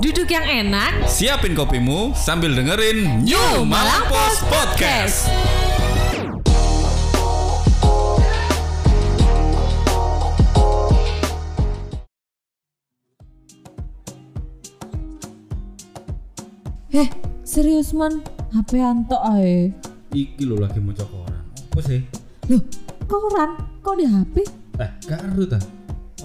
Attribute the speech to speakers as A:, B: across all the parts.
A: Duduk yang enak.
B: Siapin kopimu sambil dengerin New Malang Post Podcast.
C: Heh, Eh, serius man, HP anto ae.
D: Iki lho lagi mau koran. Apa sih?
C: Loh, koran, kok di HP?
D: Eh, karo ta.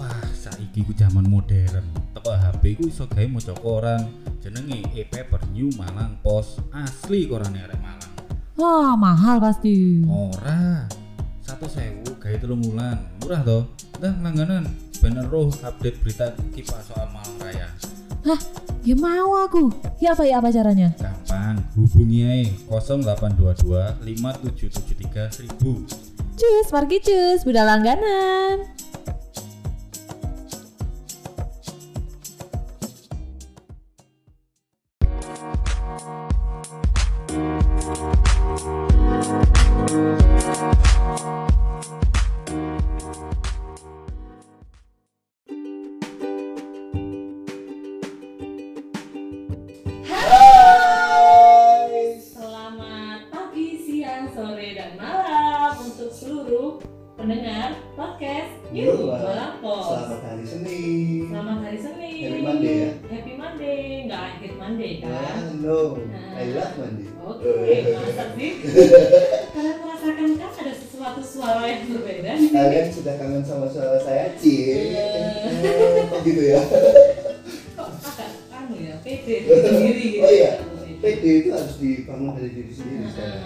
D: Wah, saiki ku zaman modern. Teko HP ku iso gawe mau koran. Jenenge e-paper New Malang Pos. Asli korane arek Malang.
C: Wah, Ah, mahal pasti.
D: Ora. Satu sewu gawe telung wulan. Murah to. Dah langganan. Bener roh update berita kipas soal Malang Raya.
C: Hah, ya mau aku. Ya apa ya apa caranya?
D: Kapan? Hubungi ae 0822 5773 1000.
C: Cus, margi cus, budal langganan.
A: Selamat pagi, siang, sore, dan malam untuk seluruh pendengar podcast New
E: New
A: Malang
E: Malang
A: Post.
E: Iya, Selamat hari Senin.
A: Selamat hari Senin.
E: Happy Monday ya?
A: Happy Monday, nggak akhir Monday kan?
E: Ah, no.
A: Nah.
E: I love Monday. Eh.
A: Oke, masa sih? Kalian merasakan kan ada sesuatu suara yang berbeda?
E: Kalian sudah kangen sama suara saya, Ci?
A: Iya.
E: Kok gitu ya?
A: Kok agak anu ya, pede sendiri gitu.
E: Oh iya.
A: Pede.
E: PD itu harus dibangun dari diri sendiri sekarang.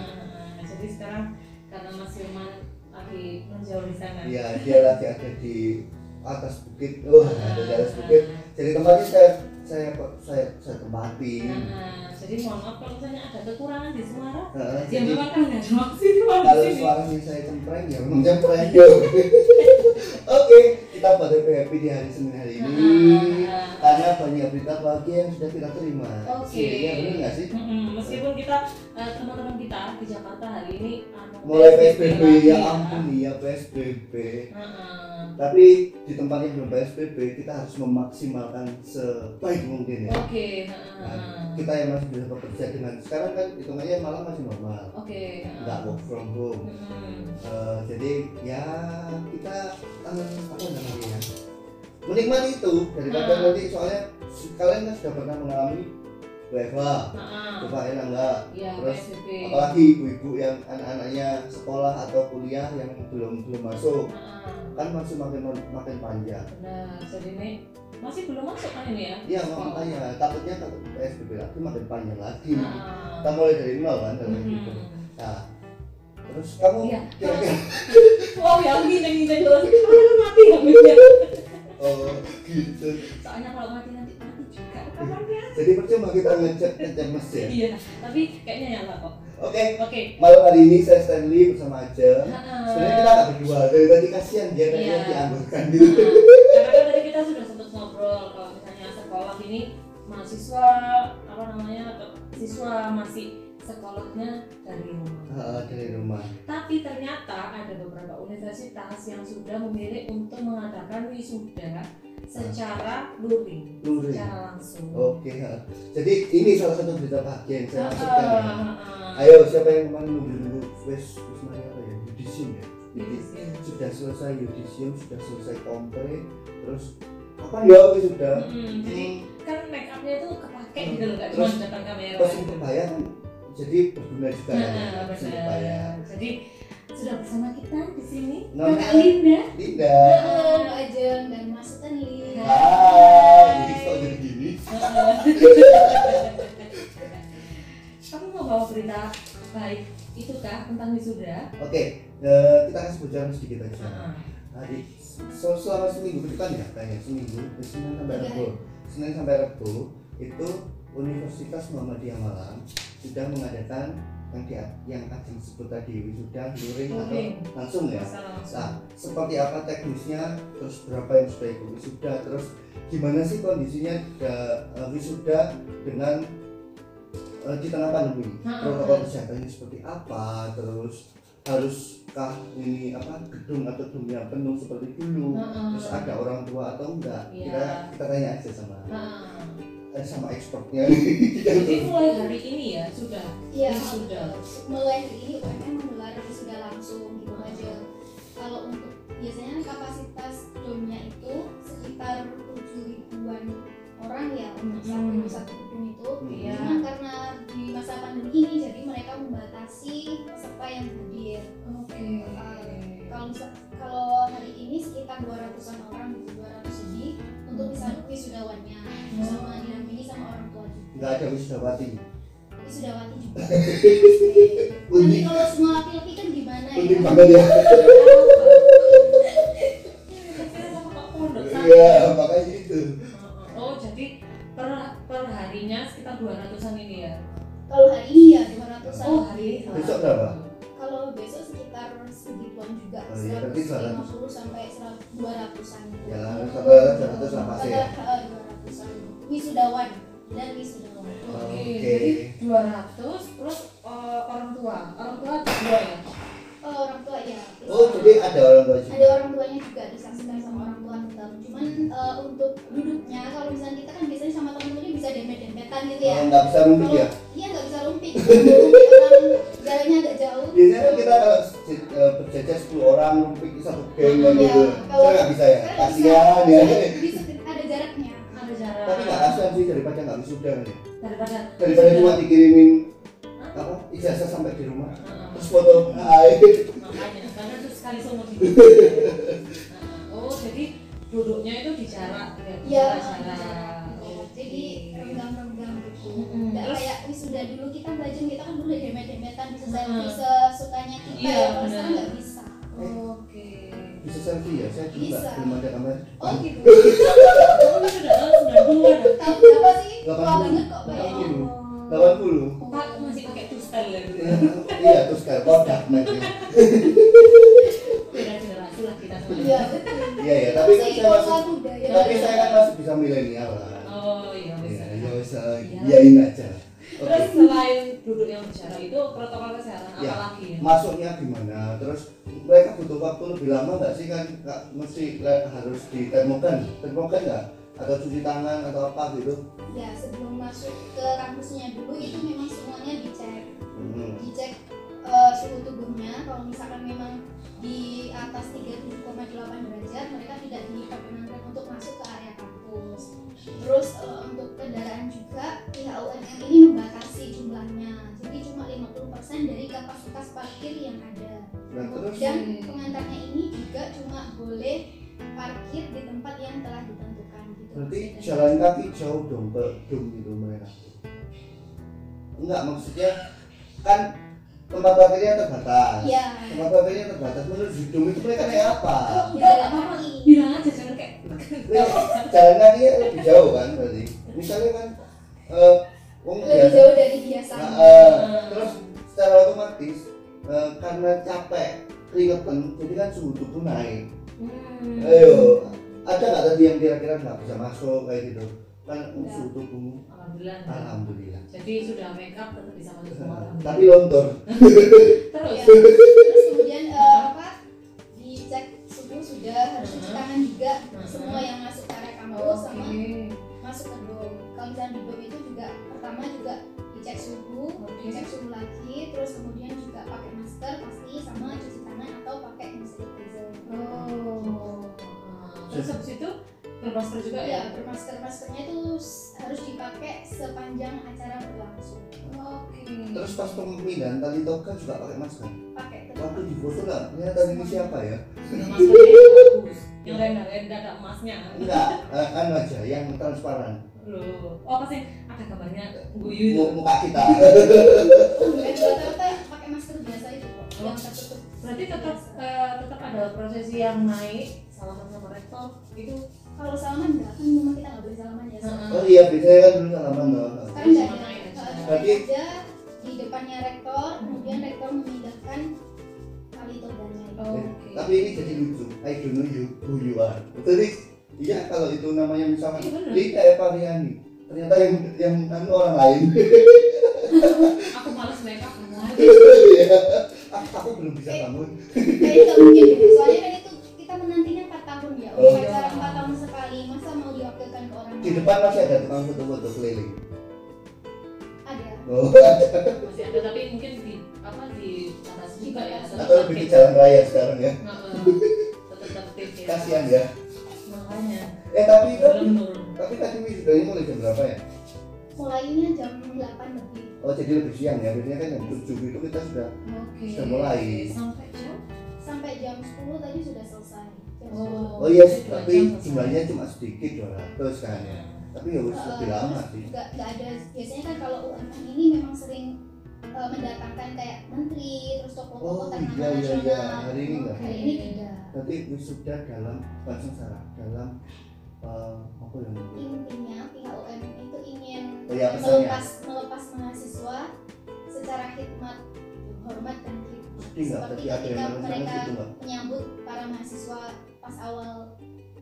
A: Nah, jadi sekarang karena Mas Firman lagi menjauh di sana.
E: Ya, dia lagi ada di atas bukit. Oh, ada di atas bukit. Jadi tempatnya saya saya saya saya tempati.
A: Nah, nah, jadi mohon maaf kalau misalnya ada kekurangan di suara.
E: Nah,
A: Ya
E: jadi
A: memang kan nggak ada maksud Mas, di
E: kalau
A: sini.
E: suaranya saya cempreng ya memang cempreng. Oke, kita pada happy di hari Senin hari ini.
A: Nah,
E: karena banyak berita bahagia yang sudah kita terima.
A: Oke.
E: Iya, benar nggak sih?
A: mm-mm, Meskipun kita eh, teman-teman kita di Jakarta hari ini anu,
E: Mulai PSBB
A: lagi
E: ya ampun ya PSBB.
A: Heeh.
E: Tapi di tempat yang belum PSBB kita harus memaksimalkan sebaik mungkin ya.
A: Oke. heeh, heeh.
E: Nah, kita yang masih bisa bekerja dengan sekarang kan hitungannya malam masih normal,
A: Oke. heeh.
E: nggak work from home.
A: Mm-mm.
E: Eh, jadi ya kita tangan apa namanya ya? Menikmati itu daripada
A: Hmm.
E: nanti soalnya kalian kan sudah pernah mengalami WFA,
A: Heeh.
E: coba enak nggak?
A: Ya,
E: Terus,
A: PSBB.
E: apalagi ibu-ibu yang anak-anaknya sekolah atau kuliah yang belum belum masuk
A: Heeh.
E: kan masih makin makin panjang
A: Nah, jadi ini masih belum masuk kan ini ya?
E: iya
A: Sekolah.
E: makanya takutnya kalau PSBB lagi makin panjang lagi kita
A: Nah,
E: mulai dari nol kan dari
A: mhm.
E: gitu nah terus kamu
A: Iya.
E: kira-kira
A: Wow, ya yang gini gini jelas mati ngambilnya.
E: oh gitu
A: Soalnya kalau mati nanti mati juga kamarnya.
E: jadi percuma kita ngecek ngecek mesin
A: Iya, tapi kayaknya nyala kok.
E: oke
A: Oke.
E: malam hari ini saya Stanley bersama aja
A: Nah,
E: sebenarnya kita nggak berdua dari tadi kasihan dia
A: Iya.
E: kayaknya dianggurkan gitu
A: Karena kan tadi kita sudah sempat ngobrol kalau misalnya sekolah ini mahasiswa apa namanya atau siswa masih sekolahnya dari rumah.
E: Ah, dari rumah
A: Tapi ternyata ada beberapa universitas yang sudah memilih untuk mengadakan wisuda secara luring,
E: luring Oh,
A: secara langsung.
E: Oke, ha. jadi ini salah satu berita bahagia yang saya maksudkan. ya.
A: Ah, ah, ah.
E: Ayo, siapa yang kemarin nunggu-nunggu wes wes namanya apa ya? Yudisium ya. Yudis-
A: Yudisium.
E: Sudah selesai yudisium, sudah selesai kompre, terus apa ya wes sudah.
A: Mm, jadi kan make upnya itu kepake gitu loh, gak cuma
E: Hmm. Terus-
A: depan kamera.
E: Pesen kebaya kan jadi berguna juga
A: Nah,
E: ya.
A: nah,
E: Pesen
A: benar.
E: kebaya.
A: Jadi sudah bersama kita di sini
E: Namanya-
A: Kakak Linda.
E: Linda.
F: Halo, Mbak Ajeng dan Mas Stanley.
E: Hai. Jadi kok jadi gini?
A: Kamu mau bawa berita baik itu kah tentang wisuda?
E: Oke, eh, kita kasih bocoran sedikit aja.
A: Heeh.
E: Hari so, selama seminggu ke depan ya kayaknya seminggu eh, Senin sampai
F: Iya.
E: Rabu Senin sampai Rabu itu Universitas Muhammadiyah Malang sudah mengadakan yang di, yang Ajeng sebut tadi wisuda luring atau
A: Luring.
E: langsung ya
A: Masa langsung.
E: nah seperti apa teknisnya terus berapa yang sudah ikut wisuda terus gimana sih kondisinya da- eh, wisuda dengan eh, di tengah pandemi
A: Ha-ha.
E: protokol kesehatannya seperti apa terus haruskah ini apa gedung atau dunia penuh seperti dulu
A: Heeh.
E: terus ada orang tua atau enggak
A: Iya.
E: kita kita tanya aja sama
A: Heeh.
E: eh, sama ekspornya
A: Jadi mulai hari ini ya sudah.
F: Iya,
A: Wisuda.
F: mulai hari ini UMM menggelar wisuda langsung gitu aja. Kalau untuk biasanya kapasitas domnya itu sekitar 7 ribuan orang ya untuk
A: Hmm.
F: satu satu gedung itu.
A: Iya.
F: Cuman karena di masa pandemi ini jadi mereka membatasi peserta yang hadir. Eh,
A: Oke.
F: Kalau bisa- kalau hari ini sekitar 200-an orang, 200 lebih untuk misalnya wisudawannya sama didampingi sama orang tua juga
E: nggak ada wisudawati
F: wisudawati juga. Tapi kalau semua laki-laki kan gimana
E: penting
F: ya?
E: banget ya
A: Kita sama Pak Pondok
E: iya makanya itu
A: Oh, jadi per, per harinya sekitar 200-an ini ya.
F: Kalau hari ini ya 200-an.
A: Oh, hari ini.
E: Besok berapa?
F: Kalau besok sekitar segituan juga,
E: Oh iya, berarti
F: 150 sampai 100 200-an.
E: Ya, sekitar 100 lah pasti ya.
F: Sekitar, eh, 200-an. Wisudawan dan wisudawan.
A: Oke.
E: Oke.
A: Jadi 200 terus eh, orang tua. Orang tua ada dua ya.
F: Oh, orang tua ya.
E: oh jadi ada orang tua juga
F: ada orang tuanya juga disaksikan sama orang tua tetap. Cuman eh, untuk duduknya kalau misalnya kita kan biasanya sama temen-temennya bisa dempet-dempetan gitu ya.
E: Oh, nggak bisa mungkin
F: Kalau
E: ya
F: iya nggak bisa lumpik, lumpik orang jalannya agak jauh. Iya,
E: biasanya kan kita kalau se- eh, berjajar 10 orang rumpik satu geng kan
F: Iya,
E: gitu
F: kalau-
E: saya nggak bisa ya
F: Kan
E: kasihan
F: bisa-
E: ya
F: bisa ada jaraknya.
A: Ada jarak.
E: tapi nggak kasihan sih daripada nggak wisuda kan ya
A: daripada
E: daripada
F: Iya.
E: cuma dikirimin
A: Hah?
E: apa ijazah sampai di rumah
A: Heeh.
E: terus foto air
A: makanya karena itu sekali seumur hidup Nah, oh jadi duduknya itu di jarak ya di
F: Iya.
A: jarak
F: Iya, Jadi
A: Oke.
F: renggang-renggang gitu.
A: Mm-mm.
F: Nggak
A: Terus-
F: kayak wisuda dulu kita belajar kita kan dulu udah demet-demetan bisa selfie
A: Mm.
F: sesukanya kita
A: Iya,
F: ya. Kalau sekarang
A: benar.
F: nggak bisa.
A: oke
E: bisa selfie ya saya juga
F: Bisa.
E: belum ada kamar
F: Oh gitu.
A: kamu sudah tahun sembilan puluh ada
F: Tahu berapa sih? Wah
E: 80.
F: banyak kok ya? banyak.
E: delapan puluh
A: pak masih pakai two style ya gitu
E: iya terus kayak kodak naiknya
A: beda generasi lah kita semua
F: Iya betul.
E: iya ya tapi kan saya
F: Seekor
E: masih
F: lagu budaya.
E: tapi saya kan masih bisa milenial lah
A: oh iya
E: ya
A: bisa
E: ya bisa
A: Iya.
E: iyain aja oke
A: terus selain duduk yang bicara itu protokol kesehatan
E: Ya.
A: apa lagi ya
E: masuknya gimana terus mereka butuh waktu lebih lama nggak sih kan nggak mesti le- harus di termogan termogan nggak atau cuci tangan atau apa gitu
F: Ya sebelum masuk ke kampusnya dulu itu memang semuanya dicek.
E: hmm.
F: dicek eh, suhu tubuhnya kalau misalkan memang di atas 37,8 derajat mereka tidak diperkenankan untuk masuk ke area kampus terus eh, untuk kendaraan juga pihak UNM ini membatasi jumlahnya jadi cuma 50% dari kapasitas parkir yang ada
E: nah terus
A: Ya.
F: dan pengantarnya ini juga cuma boleh parkir di tempat yang telah ditentukan gitu
E: berarti
F: maksudnya.
E: jalan kaki jauh dong ke dom gitu mereka enggak maksudnya kan tempat parkirnya terbatas
A: Ya.
F: Iya.
E: tempat parkirnya terbatas menurut gedung itu mereka naik apa
F: jalan kaki
E: Iya.
A: bilang aja jangan kayak
E: Ini jalan kakinya lebih jauh kan berarti misalnya kan eh wong
F: lebih
E: biasa-
F: jauh dari biasanya
E: Nah, eh,
A: "Hmm."
E: terus secara otomatis eh, karena capek keringetan jadi kan suhu tubuh naik
A: hmm.
E: Eh. ayo ada nggak tadi yang kira-kira nggak bisa masuk kayak gitu kan
F: Nggak. Hmm.
E: suhu tubuhmu
A: alhamdulillah
E: Ah, alhamdulillah
A: jadi sudah make up tetap bisa masuk semua
E: Nah,
A: orang
E: tapi lontor
A: terus
F: Ya, terus kemudian eh, apa dicek suhu sudah harus cuci tangan juga
A: Mhm.
F: semua yang masuk ke area kampus
A: Oh,
F: sama
A: oke.
F: masuk ke dom kalau misalnya di dom itu juga pertama juga dicek suhu
A: Oke.
F: dicek suhu lagi terus kemudian juga pakai masker pasti sama cuci tangan atau pakai hand sanitizer
A: Oh. Terus habis itu bermasker juga ya?
F: ya bermasker maskernya itu s- harus dipakai sepanjang acara berlangsung
A: Oke.
E: terus pas pemimpinan tadi toga juga pakai masker
F: pakai tetap.
E: waktu di foto nggak ternyata ini siapa ya
A: Maskernya yang bagus. Yang lain lain ada emasnya.
E: enggak eh, kan wajah yang transparan
A: Loh. Oh apa sih? Ada gambarnya guyu
F: Iya.
A: itu.
E: Mu- muka kita
F: Enggak, Eh, rata-rata pakai masker biasa itu kok
A: Oh.
F: yang tertutup
A: Berarti tetap eh, tetap ada prosesi yang naik salaman sama rektor gitu? itu.
F: kalau salaman enggak kan memang kita nggak boleh salaman ya
A: Heeh.
E: oh iya biasanya kan dulu salaman dong
F: sekarang nggak
A: Sama naik
F: ada
A: aja.
F: Eh,
E: Berarti-
F: naik aja di depannya rektor kemudian rektor memindahkan tali toganya itu.
A: Oke.
E: tapi ini jadi lucu I don't know you who you are jadi iya kalau itu namanya misalkan
A: Iya, bener.
E: Rita Evariani ternyata yang yang anu orang lain
A: Aku malas make up semua.
E: Iya. aku, aku belum bisa bangun
F: kayaknya nggak gitu mungkin deh. soalnya kan itu kita menantinya 4 tahun ya
E: Oh,
F: upacara
A: iya.
F: 4 tahun sekali masa mau diwakilkan ke orang
E: Di depan masih ada tukang foto-foto keliling.
F: ada
E: Oh,
A: masih ada tapi mungkin di apa di atas juga ya tetap
E: atau lebih ke
A: tertib.
E: jalan raya sekarang ya.
A: Nah, eh, tetap tertib ya
E: Kasihan ya.
A: makanya
E: Eh tapi
A: belum
E: kan,
A: turun
E: tapi tadi wisudanya mulai jam berapa ya?
F: mulainya jam 8 lebih
E: Oh jadi lebih siang ya. Biasanya kan jam 7 itu kita sudah
A: oke
E: Sudah mulai.
A: sampai jam
F: sampai jam 10 tadi sudah selesai jam
E: Oh iya,
A: dua
E: tapi
A: jam selesai.
E: jumlahnya cuma sedikit 200 kan ya. Tapi ya
F: 10.
E: wis lebih
F: Eh,
E: lama
F: terus
E: sih.
F: nggak nggak ada biasanya kan kalau UMN ini memang sering eh, mendatangkan kayak menteri terus tokoh-tokoh
E: Oh,
F: ternama
E: iya, iya, iya.
F: nasional
E: Hari ini nggak?
F: hari ini tidak
E: Nanti wisuda dalam bukan salah dalam eh, apa yang
F: intinya pihak UMN itu ingin
E: Oh iya, pesannya.
F: melepas melepas mahasiswa secara hikmat hormat dan hikmat
E: sedih nggak?
F: seperti
E: Tapi Iya, ada yang gitu, nangis
F: ketika
E: nangis
F: mereka
E: itu nggak?
F: menyambut para mahasiswa pas awal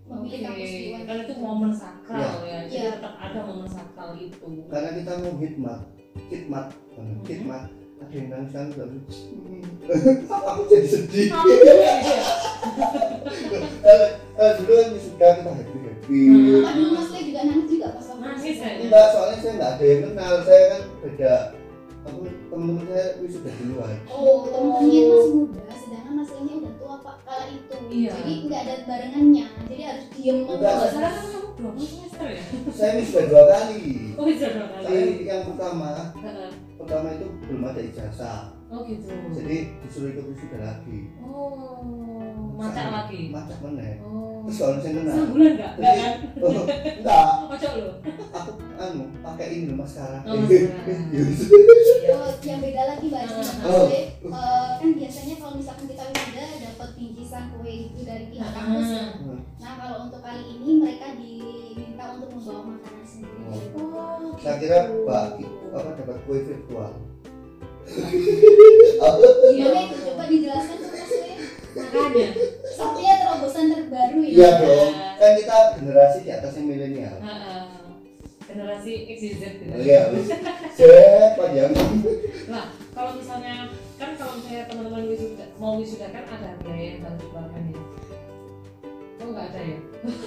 A: Oke,
F: memilih kampus di UMN
A: kan itu momen sakral ya, jadi
F: Iya.
A: tetap ada momen sakral itu.
E: Karena kita mau hikmat, hikmat, hikmat. Ada yang nangis nangis nggak? Aku jadi sedih. Eh, eh, Dulu kan wisuda kita happy happy.
A: Hmm.
F: Apa dulu Mas Lee juga nangis juga pas waktu
A: Nangis,
F: itu?
A: ya?
E: Enggak, soalnya saya nggak ada yang kenal. Saya kan beda. Aku temen-temen saya wisuda duluan.
F: Oh, temennya masih muda, sedangkan Mas Lee udah tua pak kala itu.
A: Iya.
F: Jadi nggak ada barengannya, jadi harus diem
E: Enggak,
A: Kalau
F: menunggu.
A: salah kan kamu dua puluh semester ya?
E: Saya wisuda dua kali.
A: Oh bisa dong
E: Saya
A: kali.
E: yang pertama
A: Heeh.
E: pertama itu belum ada ijazah
A: Oh gitu.
E: jadi disuruh ikut wisuda lagi
A: Oh macak lagi.
E: macak meneh
A: Oh.
E: terus soalnya saya kenal
A: Sebulan nggak? Nggak kan?
E: oh, enggak
A: Kocok loh.
E: aku anu pakai ini loh Iya, maskara
A: Oh, maskara.
F: Oh, yang beda lagi mbak Adi sama Mas
E: Oh.
F: Lee, eh, kan biasanya kalau misalkan kita wisuda dapat bingkisan kue itu dari pihak kampus. ya.
E: Hmm.
F: Nah kalau untuk kali ini mereka diminta untuk membawa makanan sendiri.
E: Oh.
A: Oh.
E: saya kira pak apa dapat kue virtual
F: Gimana itu? Coba dijelaskan Iya. tuh Mas Lee.
A: Makanya.
F: Sepertinya terobosan terbaru ya.
E: iya dong kan kita generasi di atasnya milenial
A: Heeh. Generasi XYZ gitu.
E: Oh, iya wis cek panjang
A: Nah, kalau misalnya kan kalau misalnya teman-teman wisuda mau wisuda kan ada biaya yang harus dikeluarkan ya. Oh nggak ada ya?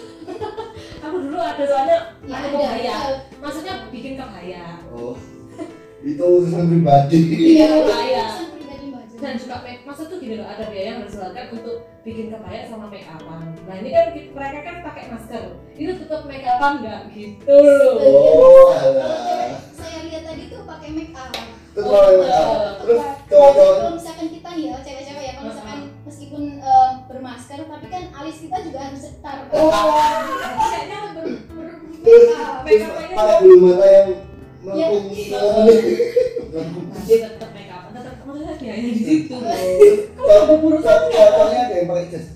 A: aku dulu ada soalnya
F: Ya
A: aku
F: ada.
A: kebaya. Maksudnya bikin kebaya
E: oh itu urusan pribadi
F: Iya,
A: Bahaya.
F: urusan pribadi mbak Adi.
A: dan juga make maksud tuh gini loh ada biaya yang harus dikeluarkan untuk bikin kebaya sama make upan. Nah ini kan ki- mereka kan pakai masker. Itu tetap make upan nggak gitu loh.
E: oh
F: Kalau cewek,
E: alah
F: saya lihat tadi tuh pakai make up.
E: terus
A: Oh,
E: kalau yang
A: iya.
E: apa? terus cowok-cowok
F: kalau misalkan kita nih ya cewek-cewek ya kalau misalkan meskipun eh, bermasker tapi kan alis kita juga harus setar.
A: Kayaknya ber-
F: Make up.
E: terus pakai bulu mata yang melengkung
F: Iya.
E: Melengkung.
A: berarti tetap make upan. Tetap maksudnya biayanya di situ.
E: Kalau contohnya ada yang pakai jas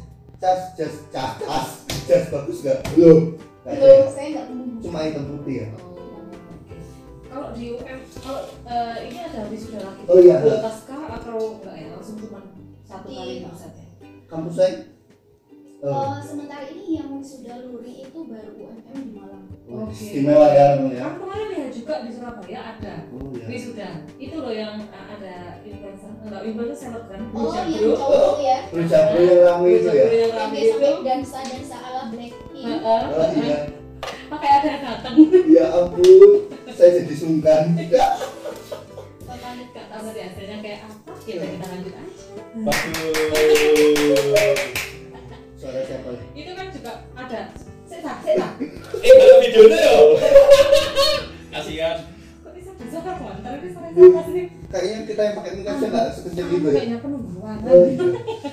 E: jas jas jas jas jas bagus nggak belum Nggak ada
F: Loh,
E: ya?
F: saya nggak mau.
E: cuma hitam putih ya
A: Kalau di UM, kalau eh, ini ada wisuda lagi.
E: Oh, iya.
A: Lepas kah atau enggak ya? Langsung cuma satu kali
F: Iya.
A: konsep ya?
E: kampus saya oh,
F: Eh, sementara ini yang sudah luri itu baru UMM di Malang.
E: oh,
A: oke.
E: istimewa ya kamu ya
A: Kan kemarin ya juga di Surabaya ada
E: oh ya
A: wisuda. Itu loh yang eh, ada influencer, enggak influencer selebgram.
F: Oh,
A: Bujang
F: yang
A: Bro.
F: cowok ya.
E: berjabri yang rame itu
A: Bujang
E: ya
A: Bro yang
F: Yang
A: rame
F: dia
A: itu.
F: sampai dansa dansa ala
A: Heeh,
F: Blackpink.
E: oh
A: heeh.
E: iya
A: Pakai ada yang datang.
E: ya ampun saya jadi sungkan Ya,
A: Pakai nggak tahu tadi hasilnya kayak apa? Ya udah kita lanjut aja.
E: suara siapa nih?
A: Itu kan juga ada. Setak, setak.
D: Eh, kalau videonya yo. Kasihan.
A: Kok bisa bisa kan konter ini sore-sore sih?
E: kayaknya kita yang pakai mic aja nggak sekecil itu Iya. ya
A: Kayaknya penungguan.
E: oh iya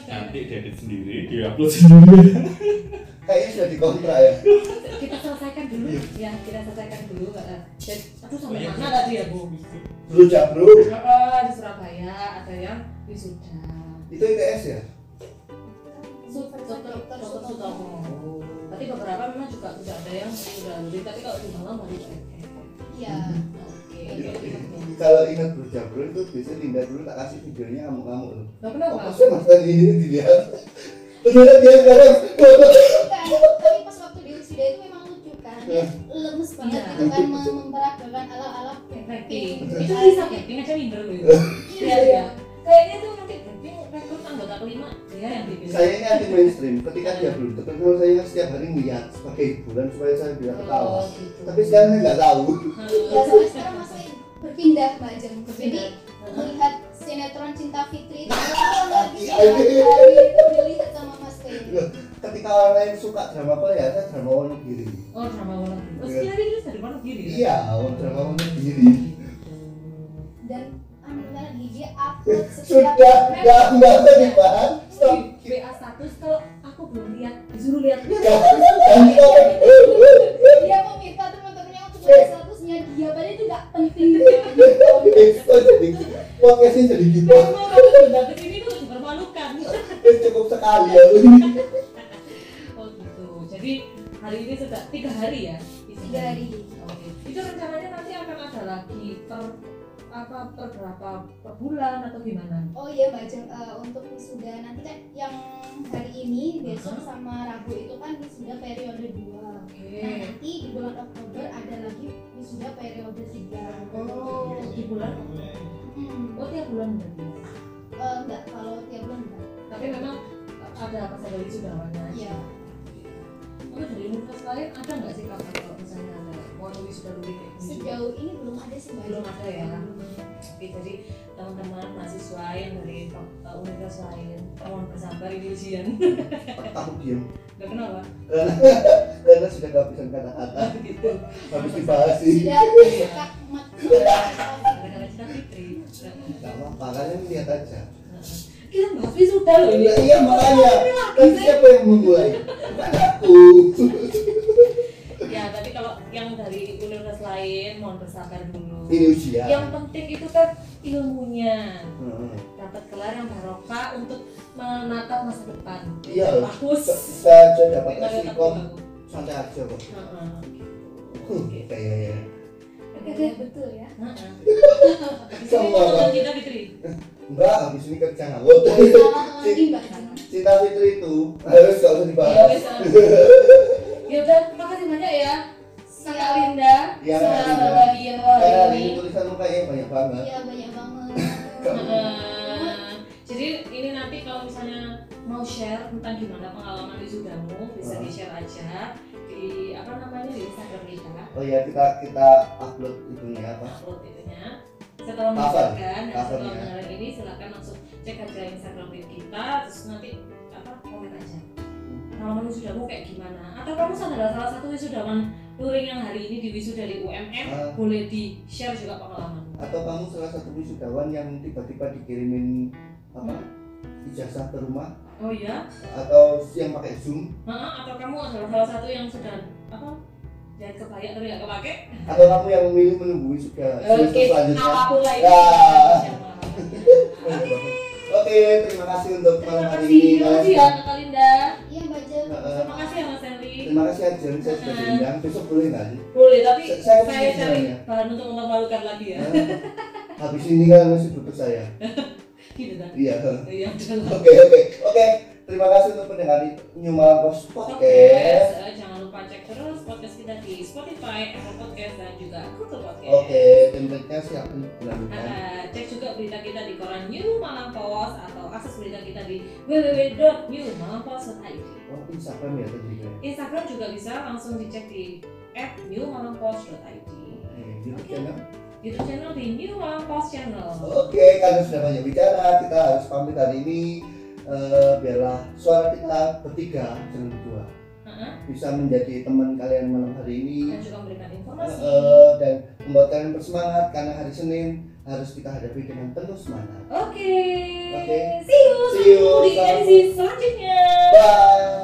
D: Nanti diedit sendiri, diupload sendiri.
E: kayaknya sudah dikontrak ya
A: Kita selesaikan dulu
E: Iya.
A: ya, kita selesaikan dulu. eh, Dan aduh sampai
D: Iya.
A: mana tadi ya bu?
E: bro jabro
A: Eh, Di Surabaya ada yang wisuda.
E: itu ITS ya
A: Dokter dokter Sutomo. Tapi beberapa memang juga sudah ada yang sudah lebih, tapi kalau di Malang baru ada.
F: Iya.
A: Oke.
E: Jadi,
A: oke, oke.
E: kalau ingat Bro Jabrol itu biasanya Linda dulu tak kasih videonya kamu-kamu loh
A: Nah,
E: apa
A: kenapa?
E: sih mas tadi ini dilihat ternyata dia sekarang
F: Bukan, kan? tapi pas waktu di wisuda itu memang lucu kan. Dia lemes banget
A: Iya.
F: gitu kan mem- memperagakan gitu. ala ala
A: Blackpink. Itu bisa Blackpink aja minder loh. Iya, iya. Kayaknya tuh nanti Blackpink rekrut anggota kelima dia yang dipilih.
E: saya ini anti mainstream ketika dia belum terkenal saya setiap hari ngeliat sebagai hiburan supaya saya bisa ketawa
A: Oh, gitu. Hmm.
E: tapi sekarang saya nggak tahu
F: Ya, soalnya sekarang masih berpindah Mbak Ajeng. Jadi melihat sinetron Cinta Fitri itu orang lagi
E: Iya,
F: setiap
E: iya, iya.
F: hari itu dilihat sama Mas Kay.
E: Loh, ketika orang lain suka drama apa ya saya drama wonogiri
A: Oh, drama Wonogiri. Oh, setiap hari terus dari Wonogiri. ya?
E: iya drama wonogiri
F: Dan anehnya lagi dia upload
E: sudah
F: setiap
E: nggak nggak usah dibahas stop
A: Di BA status kalau aku belum lihat disuruh lihat.
F: dia meminta teman-temannya untuk melihat statusnya dia padahal itu nggak penting
E: Kok jadi podcastnya jadi gitu
A: Memang kamu diundang ke sini tuh dipermalukan.
E: cukup sekali ya ini
A: Oh gitu. Jadi hari ini sudah tiga hari ya? isinya?
F: tiga hari
A: Oke. Itu rencananya nanti akan ada lagi per apa per berapa per bulan atau gimana?
F: oh iya mbak Jeng, eh, untuk wisuda nanti kan yang hari ini besok sama rabu itu kan wisuda periode dua
A: Oke.
F: nah nanti di bulan oktober ada lagi wisuda periode tiga
A: Oh, di bulan
F: Hmm,
A: Oh, tiap bulan berarti. ya?
F: eh, enggak kalau tiap bulan enggak
A: Tapi memang ada apa saja wisudawannya.
F: Iya.
A: Tapi dari universitas lain ada nggak sih kapan kalau misalnya ada mau wisuda dulu kayak gini juga?
F: sejauh ini belum ada sih mbak
A: Belum
F: Jeng.
A: ada ya? Oke, jadi teman-teman mahasiswa yang dari uh, universitas lain, mohon bersabar ini ujian.
E: aku diam
A: Gak kenapa?
E: karena sudah kehabisan kata-kata
A: Gitu.
E: habis dibahas sih
F: sudah dekat mat-
A: Karena kita fitri. Nah,
E: nggak apa-apa kalian lihat aja
A: Kita bahas wisuda loh ini.
E: Iya, iya makanya kan siapa yang memulai bukan aku
A: Ya, tapi kalau yang dari universitas lain mohon bersabar dulu.
E: ini ujian
A: Yang penting itu kan ilmunya.
E: Heeh.
A: Dapat gelar yang barokah untuk menatap masa depan.
E: iya loh
A: Bagus.
E: saya aja dapat asikom santai aja kok
A: Heeh.
E: Hmm,
A: Oke.
E: kayaknya
F: Iya, betul ya
A: Heeh.
E: Sama.
A: Teman kita Fitri.
E: enggak habis ini kerja ngawut
F: Salah lagi mbak Jeng.
E: cinta fitri itu harus gak usah
A: Ya
E: dibahas
A: wes, ah. Ya udah, makasih banyak ya. Kakak
F: Siap.
A: Linda,
E: Iya, Kak
A: selamat
E: Linda.
A: berbahagia
E: karena
A: hari
E: hari
A: ini.
E: ini tulisan lu kayaknya banyak banget
F: Iya banyak banget.
A: Nah, jadi ini nanti kalau misalnya mau share tentang gimana pengalaman wisudamu bisa di share aja di apa namanya di Instagram kita
E: oh ya kita kita upload itunya apa
A: upload itunya setelah
E: Cover,
A: mendengarkan dan
E: covernya.
A: setelah mendengarkan ini silakan langsung cek aja Instagram kita terus nanti apa komen aja pengalaman wisudamu kayak gimana atau kamu salah salah satu wisudawan luring yang hari ini di wisuda di UMM
E: Ah.
A: boleh di share juga pengalaman
E: atau kamu salah satu wisudawan yang tiba-tiba dikirimin apa ijazah ke rumah
A: oh iya
E: atau yang pakai zoom
A: Nah, atau kamu adalah salah satu yang sudah apa? Jangan kebaya tapi nggak kepake.
E: atau kamu yang memilih menunggu wisuda semester selanjutnya
A: apapun lah itu.
E: Ya.
A: Oke.
E: oke terima kasih untuk malam
A: Terima
E: hari
A: kasih.
E: ini
A: Terima
E: Mas.
A: kasih ya Kak Linda.
F: Iya mbak Jeng.
E: Heeh.
A: Terima kasih ya Mas Nah. Henry.
E: terima kasih Ajeng saya sudah diundang besok boleh nggak sih
A: Boleh tapi
E: Saya- saya
A: saya,
E: kesini
A: cari
E: sebenarnya.
A: bahan untuk mempermalukan lagi ya.
E: Hah? habis ini kan masih butuh saya
A: Gitu kan.
E: iya
A: Iya. udah.
E: oke oke oke terima kasih untuk pendengar New Malang Post
A: Oke,
E: Podcast
A: eh, jangan lupa cek terus podcast kita di Spotify, Apple Podcast, dan juga Google Podcast.
E: oke template-nya siap nih bulan-bulan
A: Uh, cek juga berita kita di koran New Malang Post atau akses berita kita di www.newmalangpost.id
E: oh Instagram ya tadi kan
A: Instagram juga bisa langsung dicek di @newmalangpost.id
E: Eh, YouTube channel
A: YouTube channel di New Malang Post Channel
E: Oke, karena sudah banyak bicara, kita harus pamit hari ini. Eh, biarlah suara kita bertiga, jangan berdua,
A: Uh-uh,
E: bisa menjadi teman kalian malam hari ini
A: dan juga memberikan informasi
E: Eh, eh, dan membuat kalian bersemangat karena hari Senin harus kita hadapi dengan penuh semangat.
A: Oke
E: Oke.
A: See you
E: See you.
A: di edisi selanjutnya
E: Bye.